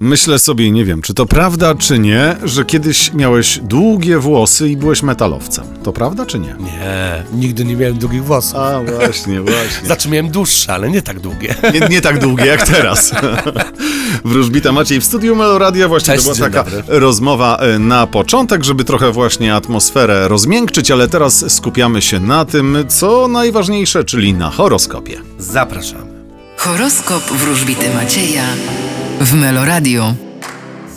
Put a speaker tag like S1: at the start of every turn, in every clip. S1: Myślę sobie, nie wiem, czy to prawda, czy nie, że kiedyś miałeś długie włosy i byłeś metalowcem. To prawda, czy nie?
S2: Nie, nigdy nie miałem długich włosów.
S1: A, właśnie, właśnie.
S2: Znaczy miałem dłuższe, ale nie tak długie.
S1: Nie, nie tak długie jak teraz. Wróżbita Maciej w studiu Meloradia. Właśnie
S2: Cześć,
S1: to była
S2: dzień
S1: taka
S2: dobry.
S1: rozmowa e, na początek, żeby trochę właśnie atmosferę rozmiękczyć, ale teraz skupiamy się na tym, co najważniejsze, czyli na horoskopie.
S2: Zapraszamy.
S3: Horoskop wróżbity Macieja w Meloradio.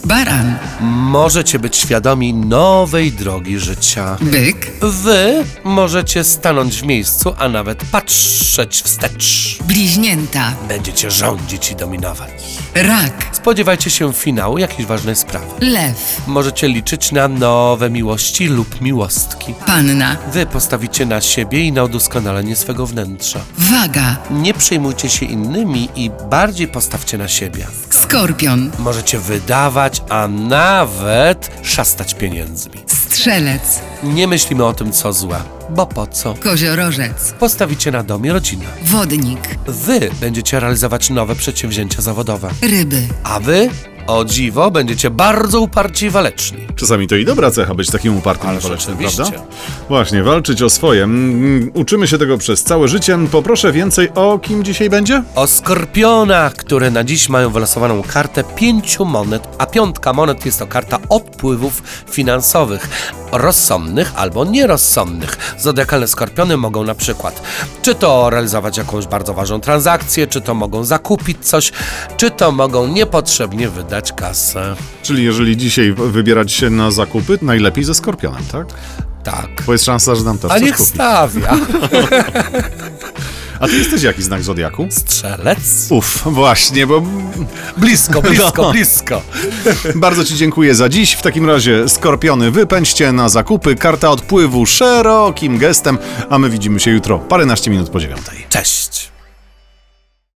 S3: Baran,
S2: Możecie być świadomi nowej drogi życia.
S3: byk,
S2: Wy możecie stanąć w miejscu, a nawet patrzeć wstecz.
S3: bliźnięta,
S2: Będziecie rządzić i dominować.
S3: rak,
S2: Spodziewajcie się finału jakiejś ważnej sprawy.
S3: lew,
S2: Możecie liczyć na nowe miłości lub miłostki.
S3: panna,
S2: Wy postawicie na siebie i na udoskonalenie swego wnętrza.
S3: waga,
S2: Nie przejmujcie się innymi i bardziej postawcie na siebie.
S3: skorpion,
S2: Możecie wydawać, a nawet szastać pieniędzmi.
S3: strzelec,
S2: Nie myślimy o tym, co złe, bo po co?
S3: koziorożec,
S2: Postawicie na dom i rodzinę.
S3: wodnik,
S2: Wy będziecie realizować nowe przedsięwzięcia zawodowe,
S3: ryby,
S2: a wy, o dziwo, będziecie bardzo uparci i waleczni.
S1: Czasami to i dobra cecha być takim upartym
S2: Ależ
S1: walecznym,
S2: oczywiście.
S1: prawda? Właśnie, walczyć o swoje. Mm, Uczymy się tego przez całe życie. Poproszę więcej o kim dzisiaj będzie?
S2: O skorpionach, które na dziś mają wylosowaną kartę pięciu monet, a piątka monet jest to karta odpływów finansowych, rozsądnych albo nierozsądnych. Zodiakalne skorpiony mogą na przykład czy to realizować jakąś bardzo ważną transakcję, czy to mogą zakupić coś, czy to mogą niepotrzebnie wydać kasę.
S1: Czyli jeżeli dzisiaj wybierać się na zakupy, najlepiej ze skorpionem, tak?
S2: Tak.
S1: Bo jest szansa, że nam też
S2: A
S1: coś
S2: niech
S1: kupi.
S2: stawia.
S1: A ty jesteś jaki znak zodiaku?
S2: Strzelec?
S1: Uf, właśnie, bo
S2: Blisko, blisko,
S1: No.
S2: blisko.
S1: bardzo Ci dziękuję za dziś. W takim razie, skorpiony, wypędźcie na zakupy. Karta odpływu szerokim gestem, a my widzimy się jutro, paręnaście minut po dziewiątej.
S2: Cześć.